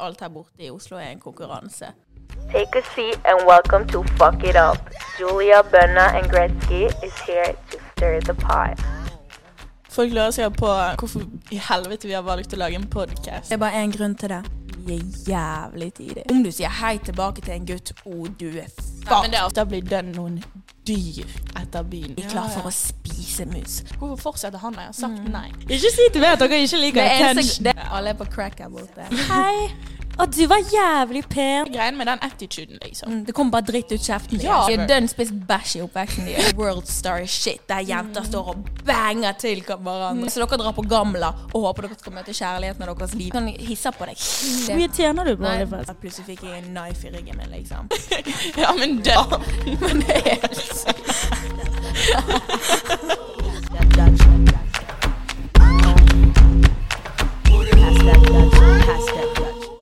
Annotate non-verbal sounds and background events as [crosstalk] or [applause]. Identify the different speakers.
Speaker 1: Alt her borte i Oslo er en konkurranse.
Speaker 2: Take a seat and welcome to Fuck It Up. Julia, Benna, and Gretzky is here to stir the pot.
Speaker 1: Folk lurer seg på hvorfor i helvete vi har valgt å lage en podkast. Det er bare én grunn til det. Vi er jævlig tidlig. Om du sier hei tilbake til en gutt, å, du er faen Da blir den noen dyr etter byen. De er klar for å spise mus. Hvorfor fortsetter han? Jeg har sagt nei.
Speaker 3: Ikke si til meg at dere ikke liker attention.
Speaker 1: Alle er på crack her borte.
Speaker 3: Hei. Og du var jævlig pen.
Speaker 1: Greien med den attituden, liksom.
Speaker 3: Det kom bare dritt ut kjeften
Speaker 1: Ja.
Speaker 3: De er dønn spiss bæsj i oppveksten [laughs] din. World star shit, der jenter står og banger til hverandre. Så dere drar på gamla og håper dere skal møte kjærligheten av deres liv. Kan hisse på deg.
Speaker 4: Hvor mye tjener du på
Speaker 3: Nei.
Speaker 4: OnlyFans?
Speaker 3: Jeg plutselig fikk jeg en knife i ryggen min, [laughs] liksom.
Speaker 1: Ja, men død.
Speaker 3: Men det er helt sykt.